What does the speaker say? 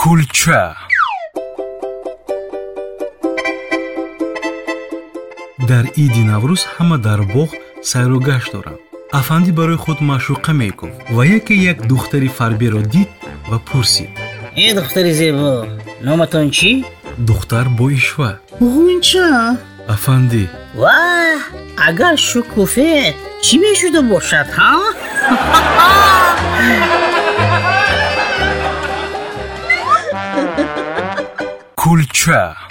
کلچه дар иди наврӯз ҳама дар боғ сайру гашт доранд афанди барои худ маъшуқа мегуфт ва яке як духтари фарберо дид ва пурсид э духтари зебо номатон чӣ духтар бо ишва ғунча афандӣ ваҳ агар шукуфе чӣ мешуда бошад ҳа кулча